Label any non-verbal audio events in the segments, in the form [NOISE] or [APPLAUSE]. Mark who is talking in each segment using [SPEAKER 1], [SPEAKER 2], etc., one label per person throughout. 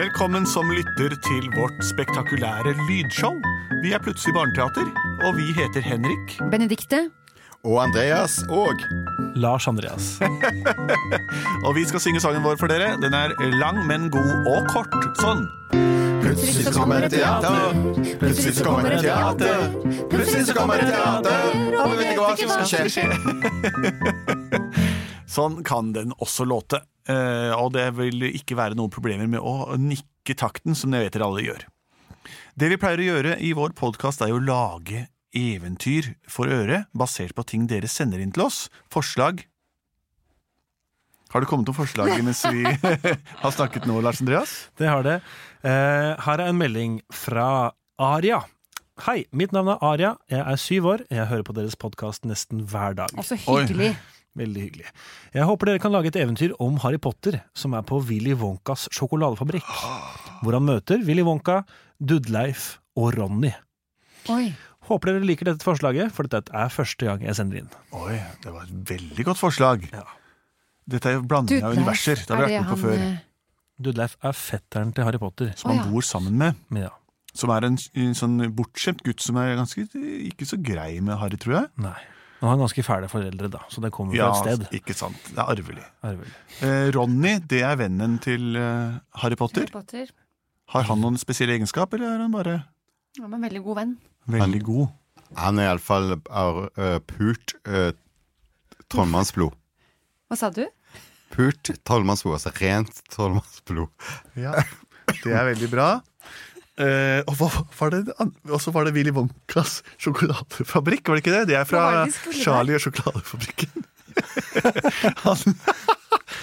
[SPEAKER 1] Velkommen som lytter til vårt spektakulære lydshow. Vi er plutselig barneteater, og vi heter Henrik.
[SPEAKER 2] Benedikte,
[SPEAKER 3] Og Andreas og
[SPEAKER 4] Lars Andreas.
[SPEAKER 1] Og vi skal synge sangen vår for dere. Den er lang, men god og kort. Sånn.
[SPEAKER 3] Plutselig så kommer det teater, plutselig så kommer det teater, plutselig så kommer det teater, og vi vet ikke hva som skal skje.
[SPEAKER 1] Sånn kan den også låte. Eh, og det vil ikke være noen problemer med å nikke takten, som jeg vet dere alle gjør. Det vi pleier å gjøre i vår podkast, er jo å lage eventyr for øret, basert på ting dere sender inn til oss. Forslag. Har det kommet noen forslag mens [LAUGHS] vi har snakket nå, Lars Andreas?
[SPEAKER 4] Det har det. Eh, her er en melding fra Aria. Hei, mitt navn er Aria. Jeg er syv år. Jeg hører på deres podkast nesten hver dag.
[SPEAKER 2] å, så hyggelig.
[SPEAKER 4] Veldig hyggelig. Jeg håper dere kan lage et eventyr om Harry Potter, som er på Willy Wonkas sjokoladefabrikk. Hvor han møter Willy Wonka, Dudleif og Ronny.
[SPEAKER 2] Oi.
[SPEAKER 4] Håper dere liker dette forslaget, for dette er første gang jeg sender inn.
[SPEAKER 1] Oi, det var et veldig godt forslag.
[SPEAKER 4] Ja.
[SPEAKER 1] Dette er jo blanding av
[SPEAKER 2] Dudleif,
[SPEAKER 1] universer. Det har
[SPEAKER 2] er
[SPEAKER 1] vi vært med på
[SPEAKER 2] han,
[SPEAKER 1] før.
[SPEAKER 2] eh,
[SPEAKER 4] Dudleif er fetteren til Harry Potter.
[SPEAKER 1] Som
[SPEAKER 2] Å,
[SPEAKER 1] han
[SPEAKER 2] ja.
[SPEAKER 1] bor sammen med.
[SPEAKER 4] Men ja,
[SPEAKER 1] Som er en, en sånn bortskjemt gutt som er ganske ikke så grei med Harry, tror jeg.
[SPEAKER 4] nei. Han har ganske fæle foreldre, da, så det kommer fra et sted.
[SPEAKER 1] ikke sant. Det er arvelig.
[SPEAKER 4] er det vel.
[SPEAKER 1] Eh, Ronny, det er vennen til eh, Harry Potter.
[SPEAKER 2] Harry Potter.
[SPEAKER 1] Har han noen spesielle egenskaper, eller er han bare
[SPEAKER 2] Han var en veldig god venn.
[SPEAKER 1] veldig god?
[SPEAKER 3] Han er iallfall av eh, pult eh, trollmannsblod.
[SPEAKER 2] Hva sa du?
[SPEAKER 3] Pult trollmannsblod, altså rent trollmannsblod.
[SPEAKER 1] Ja, det er veldig bra. Eh, og hva var det an- og så var det Willy Wonkas sjokoladefabrikk, var det ikke det? Det er
[SPEAKER 2] Hva var
[SPEAKER 1] fra
[SPEAKER 2] det de skulle
[SPEAKER 1] Charlie og sjokoladefabrikken. [LAUGHS] Han,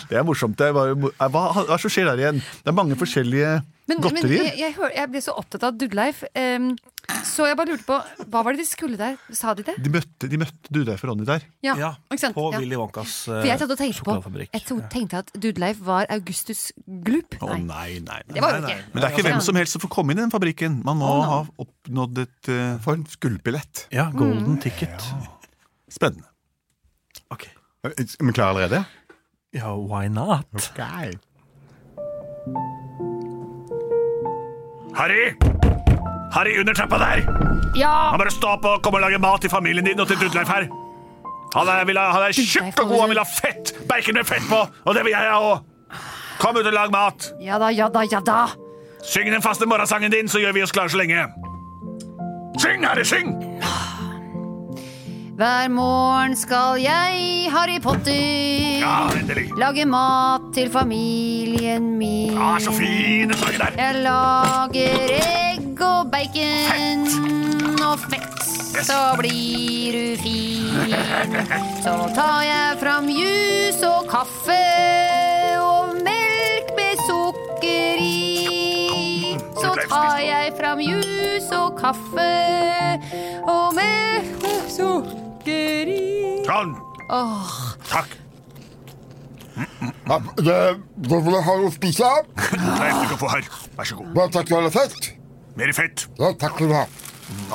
[SPEAKER 1] det er morsomt. Det er bare, mo- hva, hva er det som skjer der igjen? Det er mange forskjellige
[SPEAKER 2] Men, men
[SPEAKER 1] godterier.
[SPEAKER 2] jeg, jeg, hør, jeg ble så opptatt av Dudleif, em, så jeg bare lurte på Hva var det de skulle der? Sa de det?
[SPEAKER 1] De møtte, de møtte Dudleif og Ronny der.
[SPEAKER 2] Ja,
[SPEAKER 4] Ja,
[SPEAKER 2] ikke sant?
[SPEAKER 4] på
[SPEAKER 2] Ja.
[SPEAKER 4] Willy Wonkas eh,
[SPEAKER 2] For jeg satt og tenkte på
[SPEAKER 4] sjokoladefabrikk.
[SPEAKER 2] Jeg tro- tenkte at Dudleif var Augustus Glup.
[SPEAKER 1] Å
[SPEAKER 2] Nei,
[SPEAKER 1] nei, nei, nei.
[SPEAKER 2] det var jo ikke.
[SPEAKER 1] Men det er ikke
[SPEAKER 2] Ja.
[SPEAKER 1] hvem som helst som får komme inn i den fabrikken. Man må ha oppnådd et eh,
[SPEAKER 3] For en gullbillett.
[SPEAKER 4] Ja,
[SPEAKER 2] Mm.
[SPEAKER 4] golden ticket.
[SPEAKER 1] Spennende.
[SPEAKER 4] Ok.
[SPEAKER 3] Eh, Er vi klare allerede?
[SPEAKER 4] Ja, why not?
[SPEAKER 3] Okay.
[SPEAKER 1] Harry! Harry under trappa der!
[SPEAKER 2] Ja!
[SPEAKER 1] Han bare stå opp og komme og lage mat til familien din og til Dudleif her. Han er, vil ha, han er tjukk og god, han vil ha fett! Bacon med fett på! Og det vil jeg ha òg! Kom ut og lag mat!
[SPEAKER 2] Ja da, ja da, ja da!
[SPEAKER 1] Syng den faste morgensangen din, så gjør vi oss klare så lenge. Syng, Harry, syng!
[SPEAKER 2] Hver morgen skal jeg, Harry
[SPEAKER 1] Ja,
[SPEAKER 2] Potter,
[SPEAKER 1] endelig.
[SPEAKER 2] lage mat til familien min.
[SPEAKER 1] Ja, så fin den sangen der.
[SPEAKER 2] Jeg lager egg og bacon og fett. Så blir du
[SPEAKER 1] [LAUGHS]
[SPEAKER 2] fin. Så tar jeg fram juice og kaffe og melk med sukker i. Så tar jeg fram juice og kaffe og melk med sukker i.
[SPEAKER 1] Sånn.
[SPEAKER 2] Åh,
[SPEAKER 1] Takk.
[SPEAKER 5] Ja, det, det vil jeg ha å spise.
[SPEAKER 1] Leif, du kan få her. Vær så god.
[SPEAKER 5] Bare takk for alle fett.
[SPEAKER 1] Mer fett.
[SPEAKER 5] Ja, takk skal du ha.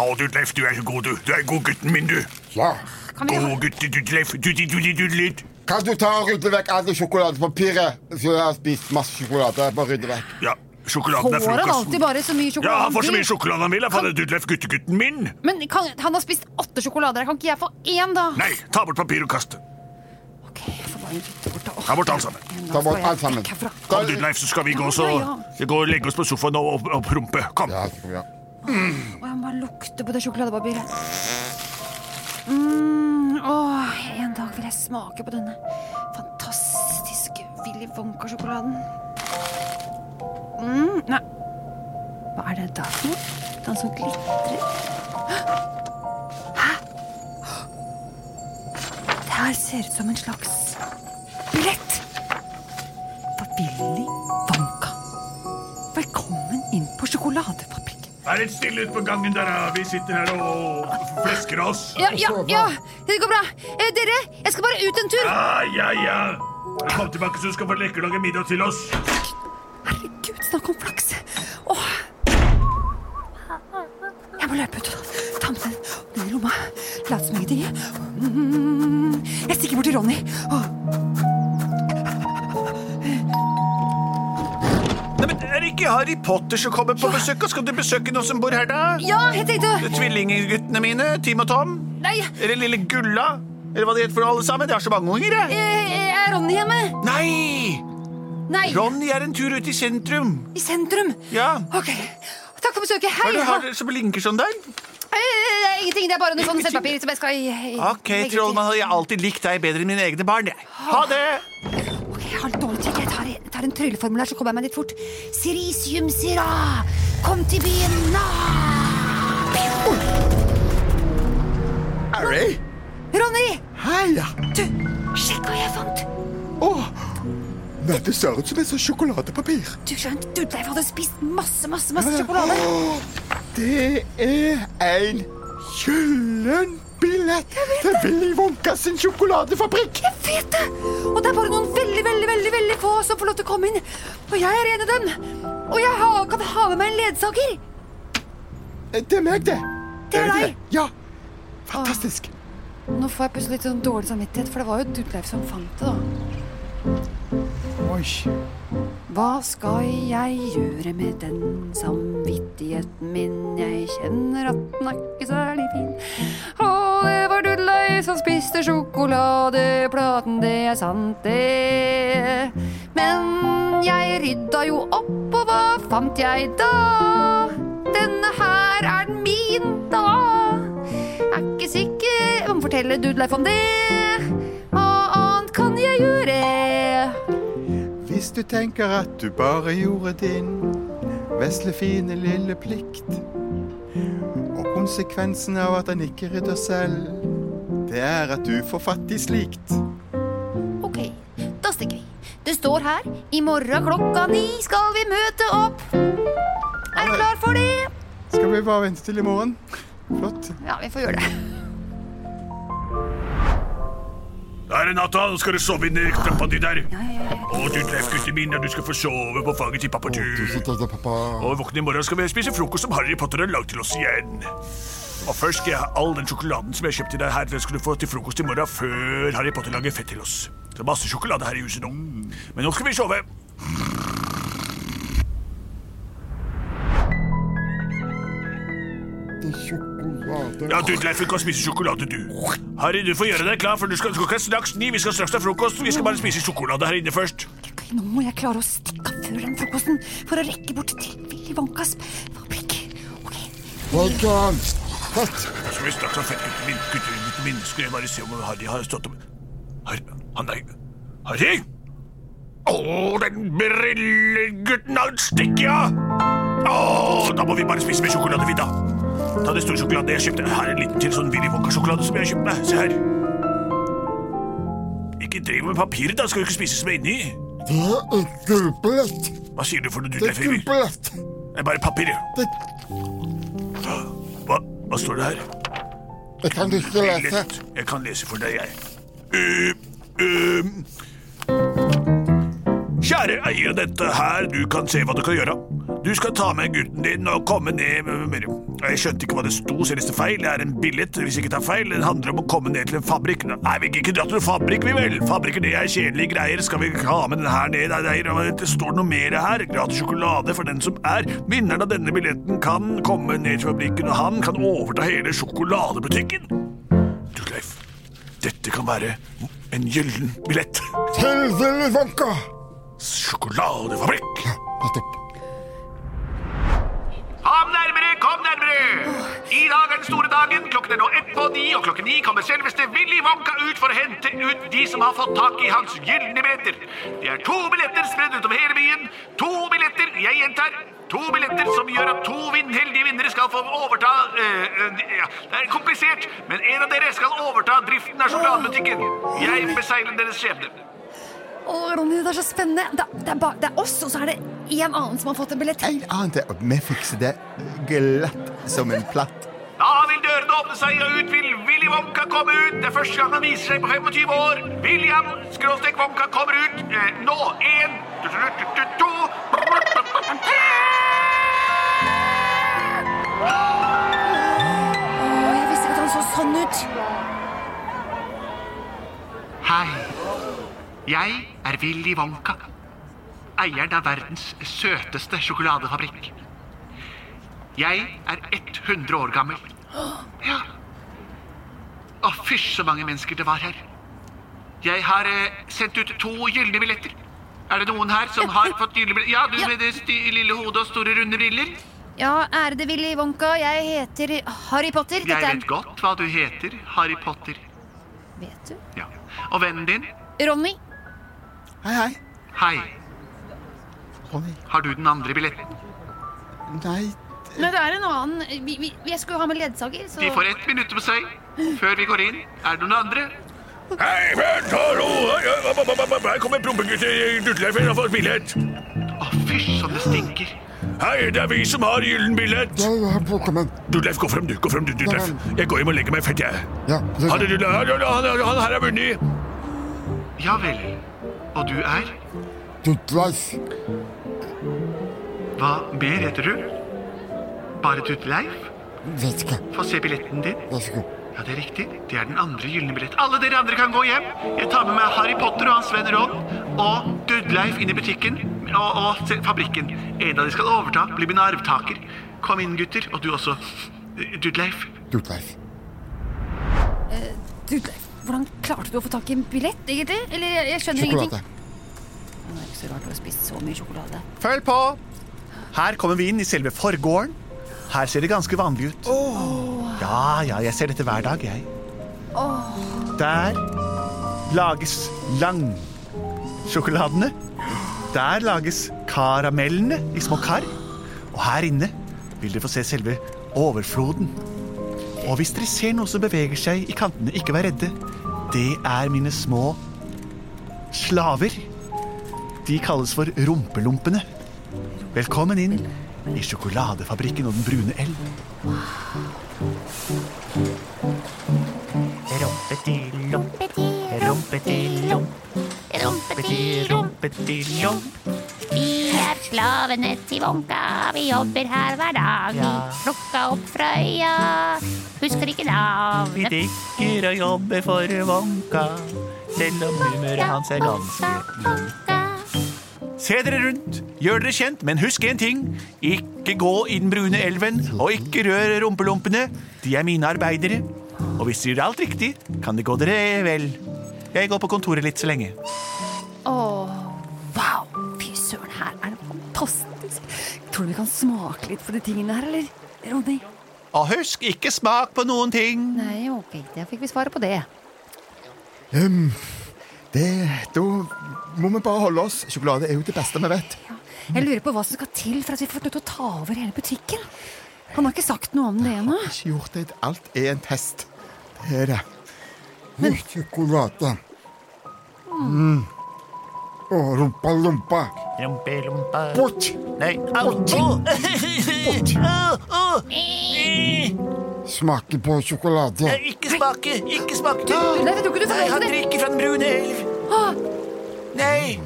[SPEAKER 1] Å, du, Leif, du er så god, du. Du er godgutten min, du.
[SPEAKER 5] Ja.
[SPEAKER 2] kan vi ha
[SPEAKER 1] Godgutten, du, Leif. Du, du, du, du, du, litt.
[SPEAKER 5] Kan du ta og rydde vekk alt det sjokoladepapiret? Så jeg har spist masse sjokolade. Bare rydde vekk.
[SPEAKER 1] Ja, sjokoladen er
[SPEAKER 2] Får han
[SPEAKER 1] frokosten.
[SPEAKER 2] alltid bare så mye sjokolade?
[SPEAKER 1] Ja, han får så mye
[SPEAKER 2] til?
[SPEAKER 1] sjokolade han vil. Han får Dudleif, guttegutten min.
[SPEAKER 2] Men kan, han har spist åtte sjokolader. Kan ikke jeg få én, da?
[SPEAKER 1] Nei, ta bort papir og kast det.
[SPEAKER 2] Ok, jeg får bare rydde bort da. Åh,
[SPEAKER 1] Ta bort alt sammen.
[SPEAKER 2] nå
[SPEAKER 5] Ta
[SPEAKER 2] skal
[SPEAKER 5] bort
[SPEAKER 2] jeg
[SPEAKER 5] alt sammen.
[SPEAKER 2] vekk herfra.
[SPEAKER 5] Ta-
[SPEAKER 1] Kom, Dudleif, så skal vi gå og så
[SPEAKER 2] Ja, ja,
[SPEAKER 1] vi går og legge oss på sofaen og, og, og prompe. Kom.
[SPEAKER 5] Ja, skal vi ha.
[SPEAKER 2] Åh, jeg må bare lukte på det sjokoladepapiret. Mm, åh, en dag vil jeg smake på denne fantastiske Willy Wonka-sjokoladen. Mm, nei. Hva er det der for noe? Den som glitrer? Hæ? Det her ser ut som en slags billett for Willy Wonka. Velkommen inn på sjokoladefabrikken.
[SPEAKER 1] Er det stille ute på gangen der? ja? Vi sitter her og flesker oss.
[SPEAKER 2] Ja, ja, ja, det går bra. Eh, dere, jeg skal bare ut en tur.
[SPEAKER 1] Ja, ja, ja. Kom tilbake, så du skal få lekker lage middag til oss.
[SPEAKER 2] Herregud, snakk om flaks. Åh. Jeg må løpe ut og ta med den ned i lomma. Late som ingenting. Mm. Jeg stikker bort til Ronny. Åh.
[SPEAKER 1] Nei, men Erik, ikke Harry Potter som kommer på besøk. Og skal du besøke noen som bor her, da?
[SPEAKER 2] Ja, jeg tenkte
[SPEAKER 1] Tvillingguttene mine, Tim og Tom?
[SPEAKER 2] Nei,
[SPEAKER 1] Eller lille Gulla? Eller hva de heter for alle sammen? Jeg har så mange unger, jeg.
[SPEAKER 2] eh, er Ronny hjemme?
[SPEAKER 1] Nei!
[SPEAKER 2] Nei,
[SPEAKER 1] Ronny er en tur ut i sentrum.
[SPEAKER 2] i sentrum.
[SPEAKER 1] Ja.
[SPEAKER 2] Ok, takk for besøket.
[SPEAKER 1] Hva
[SPEAKER 2] Hei.
[SPEAKER 1] er det du har
[SPEAKER 2] ha-
[SPEAKER 1] dere som blinker sånn der?
[SPEAKER 2] Eh, det er ingenting, det er bare noe sånn sølvpapir som jeg skal
[SPEAKER 1] Ok, trollmann, jeg har alltid likt deg bedre enn mine egne barn. jeg. Ha det!
[SPEAKER 2] Ok, jeg har litt dårlig tid. Jeg tar, jeg tar en trylleformel her, så kommer jeg meg litt fort. Sirisium sira, kom til byen na!
[SPEAKER 3] Harry?
[SPEAKER 2] Ronny,
[SPEAKER 3] Hei, ja.
[SPEAKER 2] du, sjekk hva jeg fant.
[SPEAKER 3] Åh. Nei, det ser ut som en sånn sjokoladepapir.
[SPEAKER 2] Du skjønt, Dudleif hadde spist masse, masse, masse
[SPEAKER 3] Ja, ja.
[SPEAKER 2] sjokolade.
[SPEAKER 3] Det er en gyllenbillett til Willy Wonka sin sjokoladefabrikk.
[SPEAKER 2] Jeg vet det! Og det er bare noen veldig, veldig, veldig, veldig få som får lov til å komme inn. Og jeg er en av dem. Og jeg har, kan ha med meg en ledsager.
[SPEAKER 3] Det er meg, det.
[SPEAKER 2] Det er deg.
[SPEAKER 3] Ja. Fantastisk.
[SPEAKER 2] Nå får jeg plutselig litt sånn dårlig samvittighet, for det var jo Dudleif som fant det, da.
[SPEAKER 3] Oi.
[SPEAKER 2] Hva skal jeg gjøre med den samvittigheten min? Jeg kjenner at den er ikke særlig fin. Å, det var Dudleif som spiste sjokoladeplaten, det er sant, det. Men jeg rydda jo opp, og hva fant jeg da? Denne her er den min, da. Er ikke sikker Jeg må fortelle Dudleif om det. Hva annet kan jeg gjøre?
[SPEAKER 3] Hvis du tenker at du bare gjorde din vesle, fine lille plikt, og konsekvensen av at han ikke rydder selv, det er at du får fattig slikt.
[SPEAKER 2] Ok, da stikker vi. Det står her i morgen klokka ni skal vi møte opp. Er du klar for det?
[SPEAKER 3] Skal vi bare vente til i morgen? Flott.
[SPEAKER 2] Ja, vi får gjøre det.
[SPEAKER 6] Her er natta, nå skal du sove inn i trappa di der. Å, du treff gutten min, og du skal få sove på faget til pappa
[SPEAKER 5] Tusen
[SPEAKER 6] Tur.
[SPEAKER 5] takk, pappa.
[SPEAKER 6] Og våkne i morgen skal vi spise frokost som Harry Potter har lagd til oss igjen. Og først skal jeg ha all den sjokoladen som jeg kjøpte til deg her, den skal du få til frokost i morgen før Harry Potter lager fett til oss. Det er masse sjokolade her i huset nå. Men nå skal vi sove.
[SPEAKER 5] Det er sjokolade.
[SPEAKER 6] Ja, du, Leif, du kan spise sjokolade, du. Harry, du får gjøre deg klar, for du skal klokka er straks ni. Vi skal straks ta frokost. Vi skal bare spise sjokolade her inne først.
[SPEAKER 2] Ok, nå må jeg klare å stikke av før den frokosten for å rekke bort til Willy Wonkas fabrikk. Ok,
[SPEAKER 5] Welcome. Fett.
[SPEAKER 6] Så vi straks har fett gutten min, gutten min, gutten min. Skal jeg bare se om Harry har stått opp. Har, han er... Harry! Å, den brillegutten, han stikker, ja! Å, da må vi bare spise med sjokolade, vi da. Ta den store sjokoladen jeg kjøpte. Her er en liten til sånn Willy Wonka-sjokolade som jeg har kjøpt meg. Se her. Ikke driv med papiret, da. Skal jo ikke spises med inni.
[SPEAKER 5] Det er en gullbillett.
[SPEAKER 6] Hva sier du for noe du
[SPEAKER 5] Det er
[SPEAKER 6] treffer? Det
[SPEAKER 5] gullbillett.
[SPEAKER 6] er bare papir.
[SPEAKER 5] Det
[SPEAKER 6] Hva, hva står det her?
[SPEAKER 5] Jeg kan ikke lese.
[SPEAKER 6] Lett. Jeg kan lese for deg, jeg. Eh, eh, Kjære eier av dette her, du kan se hva du kan gjøre. Du skal ta med gutten din og komme ned med- med- Jeg skjønte ikke hva det sto, så jeg leste feil. Det er en billett, hvis jeg ikke tar feil. Den handler om å komme ned til en fabrikk. Nei, vi gikk ikke dra til en fabrikk, vi vel. Fabrikker, det er kjedelige greier. Skal vi ikke ha med den her ned? Nei, nei, nei, det står noe mer her. Gratis sjokolade for den som er. Vinneren av denne billetten kan komme ned til fabrikken, og han kan overta hele sjokoladebutikken. Du, Leif, dette kan være en gyllen billett.
[SPEAKER 5] Til Willy Wonka.
[SPEAKER 6] Sjokoladefabrikk!
[SPEAKER 5] Nettopp.
[SPEAKER 6] Kom nærmere, kom nærmere! I dag er den store dagen. Klokken er nå ett på ni, og klokken ni kommer selveste Willy Wonka ut for å hente ut de som har fått tak i hans gylne billetter. Det er to billetter spredd utover hele byen. To billetter, jeg gjentar. To billetter som gjør at to vinn heldige vinnere skal få overta eh, eh, ja, Det er komplisert, men en av dere skal overta driften av sjokoladebutikken. Jeg besegler deres skjebne.
[SPEAKER 2] Å, Ronny, det er så spennende. Det, det, er, ba, det er oss, og så er det en annen som har fått en billett.
[SPEAKER 3] En annen til. Og vi fikser det glatt som en platt.
[SPEAKER 6] Da vil dørene åpne seg, og ut vil Willy Wonka komme ut. Det er første gang han viser seg på 25 år. William skråstrek Wonka kommer ut eh, nå. Én, to
[SPEAKER 2] Å, jeg visste ikke at han så sånn ut.
[SPEAKER 6] Hei. Jeg er Willy Wonka.
[SPEAKER 7] eieren av verdens søteste sjokoladefabrikk. Jeg er 100 år gammel. Ja. Å, fysj, så mange mennesker det var her. Jeg har eh, sendt ut to gylne billetter. Er det noen her som har fått gylne billetter? Ja, du med det sty lille hodet og store, runde briller.
[SPEAKER 8] Ja, ærede Willy Wonka, jeg heter Harry Potter.
[SPEAKER 7] Jeg
[SPEAKER 8] Dette er
[SPEAKER 7] vet godt hva du heter, Harry Potter.
[SPEAKER 8] Vet du?
[SPEAKER 7] Ja. Og vennen din?
[SPEAKER 8] Ronny.
[SPEAKER 3] Hei, hei.
[SPEAKER 7] Hei.
[SPEAKER 3] Ronny.
[SPEAKER 7] Har du den andre billetten?
[SPEAKER 3] Nei,
[SPEAKER 8] Nei, det er en annen vi, vi, Jeg skulle jo ha med ledsager, så
[SPEAKER 7] De får ett minutt på seg før vi går inn. Er det noen andre?
[SPEAKER 1] Hei, vent, hallo! Her kommer prompegutter Dutleif og får billett.
[SPEAKER 7] Å, fysj, som det stinker.
[SPEAKER 1] Hei, det er vi som har gyllen billett.
[SPEAKER 5] Jeg har boka min.
[SPEAKER 1] Dutleif, gå frem, du. Gå frem, du, Dutleif. Jeg går hjem og legger meg fett, jeg.
[SPEAKER 5] Ja, det
[SPEAKER 1] Han, er Dutleif. han, han, han, han her er Bunni.
[SPEAKER 7] Ja vel. Og du er?
[SPEAKER 5] Tutleif.
[SPEAKER 7] Hva mer heter du? Bare Tutleif?
[SPEAKER 5] Vet ikke.
[SPEAKER 7] Få se billetten din.
[SPEAKER 5] Vær så god.
[SPEAKER 7] Ja, det er riktig. Det er den andre gylne billett. Alle dere andre kan gå hjem. Jeg tar med meg Harry Potter og hans venn Ron og Dudleif inn i butikken og, og se- fabrikken. En av de skal overta, bli min arvtaker. Kom inn, gutter. Og du også. Dudleif.
[SPEAKER 5] Tutleif.
[SPEAKER 8] du, Hvordan klarte du å få tak i en billett, egentlig? Eller jeg, jeg skjønner
[SPEAKER 5] Sjokolade.
[SPEAKER 8] ingenting. Det er ikke så rart du har spist så mye sjokolade.
[SPEAKER 1] Følg på! Her kommer vi inn i selve forgården. Her ser det ganske vanlig ut. Ja, ja, jeg ser dette hver dag, jeg. Der lages langsjokoladene. Der lages karamellene i små kar. Og her inne vil dere få se selve overfloden. Og hvis dere ser noe som beveger seg i kantene, ikke vær redde. Det er mine små slaver. De kalles for rumpelumpene. Velkommen inn i sjokoladefabrikken og den brune elv.
[SPEAKER 6] Rumpetilomp, rumpetilomp,
[SPEAKER 2] Rumpetilom,
[SPEAKER 6] rumpetilomp.
[SPEAKER 2] vi er slavene til Wonka. Vi jobber her hver dag. Vi
[SPEAKER 6] Ja.
[SPEAKER 2] plukka opp fra øya. Husker ikke
[SPEAKER 6] Vi
[SPEAKER 2] navnet.
[SPEAKER 6] drikker og jobber for Wonka, selv om humøret hans er ganske
[SPEAKER 2] Wonka.
[SPEAKER 1] Se dere rundt, gjør dere kjent, men husk én ting. Ikke gå i den brune elven, og ikke rør rumpelumpene. De er mine arbeidere. Og hvis de gjør alt riktig, kan det gå dere vel. Jeg går på kontoret litt så lenge.
[SPEAKER 8] Åh, wow! Fy søren, her er det fantastisk. Tror du vi kan smake litt på de tingene her, eller? Ronny?
[SPEAKER 1] Og husk, ikke smak på noen ting.
[SPEAKER 8] Nei, ok, da fikk vi svaret på det.
[SPEAKER 5] Ehm, det Da må vi bare holde oss. Sjokolade er jo det beste vi vet.
[SPEAKER 8] Jeg lurer på hva som skal til for at vi får lov til å ta over hele butikken. Han har ikke sagt noe om det ennå.
[SPEAKER 5] Ikke gjort det. Alt er en test. Det er det. Mye sjokolade. Mm. Og rumpa, lumpa.
[SPEAKER 6] rumpelompa.
[SPEAKER 5] Bort!
[SPEAKER 6] Nei, au! [LAUGHS] Au, au!
[SPEAKER 5] Smake på sjokolade.
[SPEAKER 6] Nei, Ikke smake, ikke smake.
[SPEAKER 8] Nei, jeg tror ikke du får
[SPEAKER 6] Nei,
[SPEAKER 8] lov
[SPEAKER 6] han
[SPEAKER 8] til det.
[SPEAKER 6] drikker fra den brune elv.
[SPEAKER 8] Ah,
[SPEAKER 6] Nei,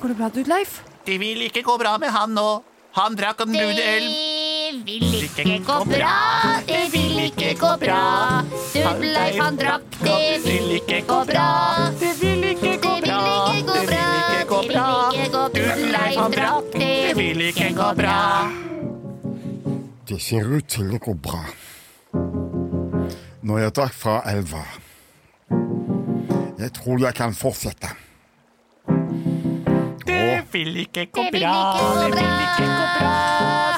[SPEAKER 8] Går det bra, du, Leif?
[SPEAKER 6] det vil ikke gå bra med han nå. Han drakk av den brune elv.
[SPEAKER 2] Det vil ikke gå bra, det vil ikke gå bra. Dudleif han drakk, det vil ikke gå bra. Det vil ikke gå bra, det vil ikke gå bra. Dudleif han drakk, det vil ikke gå bra.
[SPEAKER 5] Det ser ut til å gå bra. Når jeg drakk fra elva Jeg tror jeg kan fortsette.
[SPEAKER 6] Det vil ikke gå
[SPEAKER 2] Det vil
[SPEAKER 6] bra.
[SPEAKER 2] ikke gå
[SPEAKER 6] Det vil ikke gå
[SPEAKER 2] bra.
[SPEAKER 6] bra.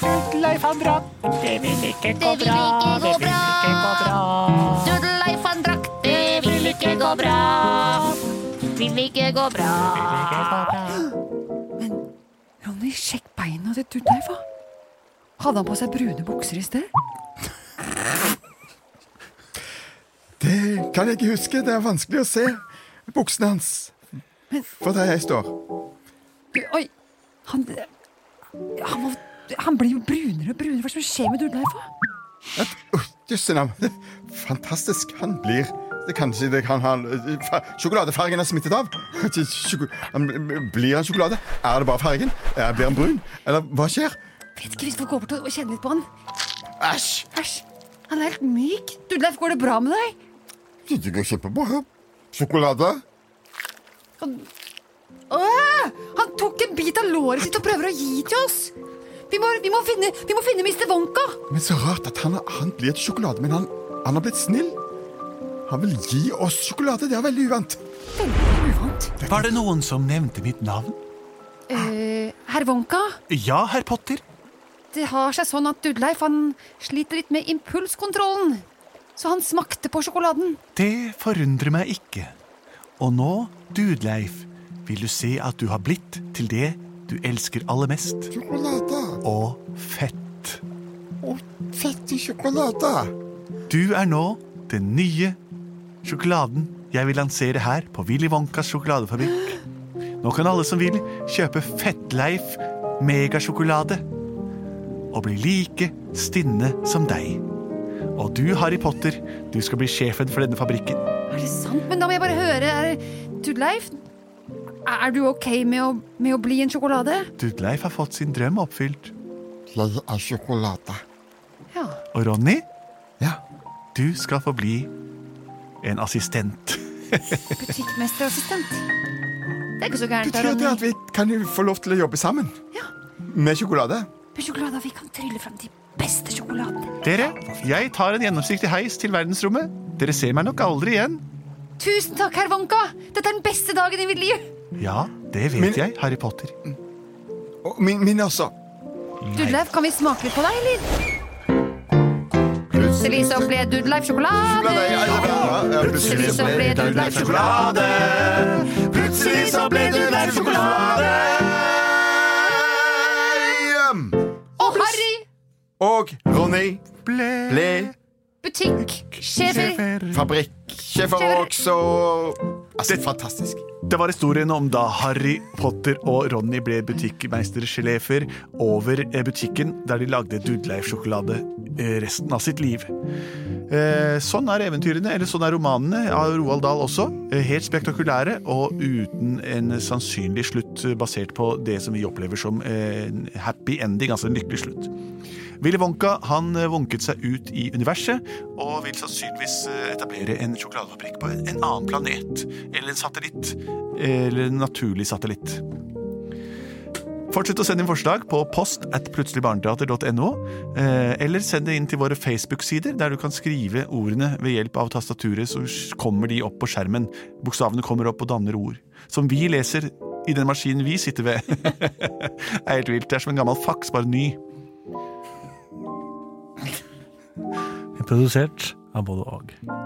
[SPEAKER 6] Leif han drakk. Det vil ikke gå
[SPEAKER 2] Det vil
[SPEAKER 6] bra.
[SPEAKER 2] ikke gå
[SPEAKER 6] Det vil ikke gå bra.
[SPEAKER 2] Dudleif han drakk, det vil ikke gå bra. Vil ikke gå bra.
[SPEAKER 8] Men Ronny, sjekk beina til Dudleif, da. Hadde han på seg brune bukser i sted?
[SPEAKER 3] det kan jeg ikke huske. Det er vanskelig å se buksene hans. For der jeg står.
[SPEAKER 8] Oi, han Han, må, han blir jo brunere og brunere. Hva er det som skjer med Dudleif? da?
[SPEAKER 3] Uh, Jøsse navn. Fantastisk. Han blir det Kanskje det kan han fa- Sjokoladefargen er smittet av. Kanskje sjoko- han bl- Blir han sjokolade? Er det bare fargen? Er- Blir han brun? Eller hva skjer?
[SPEAKER 8] Vet ikke, vi får gå bort og og kjenne litt på han.
[SPEAKER 3] Æsj!
[SPEAKER 8] Æsj, han er helt myk. Dudleif, går det bra med deg?
[SPEAKER 5] Det går kjempebra. Sjokolade.
[SPEAKER 8] Kan,
[SPEAKER 2] Åh, han tok en bit av låret sitt og prøver å gi til oss. Vi må, vi må, finne, vi må finne Mr. Wonka.
[SPEAKER 5] Men så rart at han, han blir til sjokolade, men han, han har blitt snill. Han vil gi oss sjokolade. Det er veldig uvant.
[SPEAKER 2] Uvant.
[SPEAKER 1] Var det noen som nevnte mitt navn?
[SPEAKER 2] Eh, herr Wonka,
[SPEAKER 1] Ja, herr Potter.
[SPEAKER 2] det har seg sånn at Dudleif han sliter litt med impulskontrollen. Så han smakte på sjokoladen.
[SPEAKER 1] Det forundrer meg ikke. Og nå, Dudleif, vil du se at du har blitt til det du elsker aller mest,
[SPEAKER 5] Sjokolade.
[SPEAKER 1] og fett.
[SPEAKER 5] Og fettig sjokolade.
[SPEAKER 1] Du er nå den nye sjokoladen jeg vil lansere her på Willy Wonkas sjokoladefabrikk. Nå kan alle som vil kjøpe Fettleif megasjokolade og bli like stinne som deg. Og du, Harry Potter, du skal bli sjefen for denne fabrikken.
[SPEAKER 2] Er det sant? Men da må jeg bare høre, er Dudleif, er du ok med å, med å bli en sjokolade?
[SPEAKER 1] Dudleif har fått sin drøm oppfylt.
[SPEAKER 5] Jeg er sjokolade.
[SPEAKER 2] Ja.
[SPEAKER 1] Og Ronny,
[SPEAKER 5] Ja.
[SPEAKER 1] du skal få bli en assistent.
[SPEAKER 2] Butikkmesterassistent. Det er ikke så gærent,
[SPEAKER 5] Betyr det
[SPEAKER 2] Ronny.
[SPEAKER 5] at vi kan jo få lov til å jobbe sammen?
[SPEAKER 2] Ja.
[SPEAKER 5] Med sjokolade?
[SPEAKER 2] Med sjokolade vi kan trylle fram de beste sjokoladene.
[SPEAKER 1] Dere, jeg tar en gjennomsiktig heis til verdensrommet. Dere ser meg nok aldri igjen.
[SPEAKER 2] Tusen takk, herr Wonka! Dette er den beste dagen i mitt liv!
[SPEAKER 1] Ja, det vet
[SPEAKER 5] Men-
[SPEAKER 1] jeg, Harry Potter.
[SPEAKER 5] Og min, min også.
[SPEAKER 2] Dudleif, kan vi smake litt på deg, eller? Plutselig så ble Dudleif sjokolade. Plutselig så ble Dudleif sjokolade. Plutselig så ble Dudleif sjokolade. Og Harry,
[SPEAKER 5] Og Ronny
[SPEAKER 1] Ble
[SPEAKER 5] ble
[SPEAKER 2] butikksjefer.
[SPEAKER 5] fabrikksjefer også. Altså, fantastisk.
[SPEAKER 1] Det var historien om da Harry Potter og Ronny ble butikkmeistersjelefer over eh, butikken der de lagde Dudleif-sjokolade eh, resten av sitt liv. Eh, Sånn er eventyrene, eller sånn er romanene av Roald Dahl også. Eh, Helt spektakulære og uten en sannsynlig slutt eh, basert på det som vi opplever som eh, en happy ending, altså en lykkelig slutt. Willy Wonka han eh, vonket seg ut i universet og vil sannsynligvis eh, etablere en sjokoladefabrikk på en en annen planet. Eller en satellitt. eh, Eller en naturlig satellitt. Fortsett å sende inn forslag på post at plutseligbarneteater.no, eh, eller send det inn til våre Facebook-sider, der du kan skrive ordene ved hjelp av tastaturet, så kommer de opp på skjermen. Bokstavene kommer opp og danner ord. Som vi leser i den maskinen vi sitter ved. [LAUGHS] det er helt vilt. Det er som en gammel faks, bare ny.
[SPEAKER 4] Produsert av både og.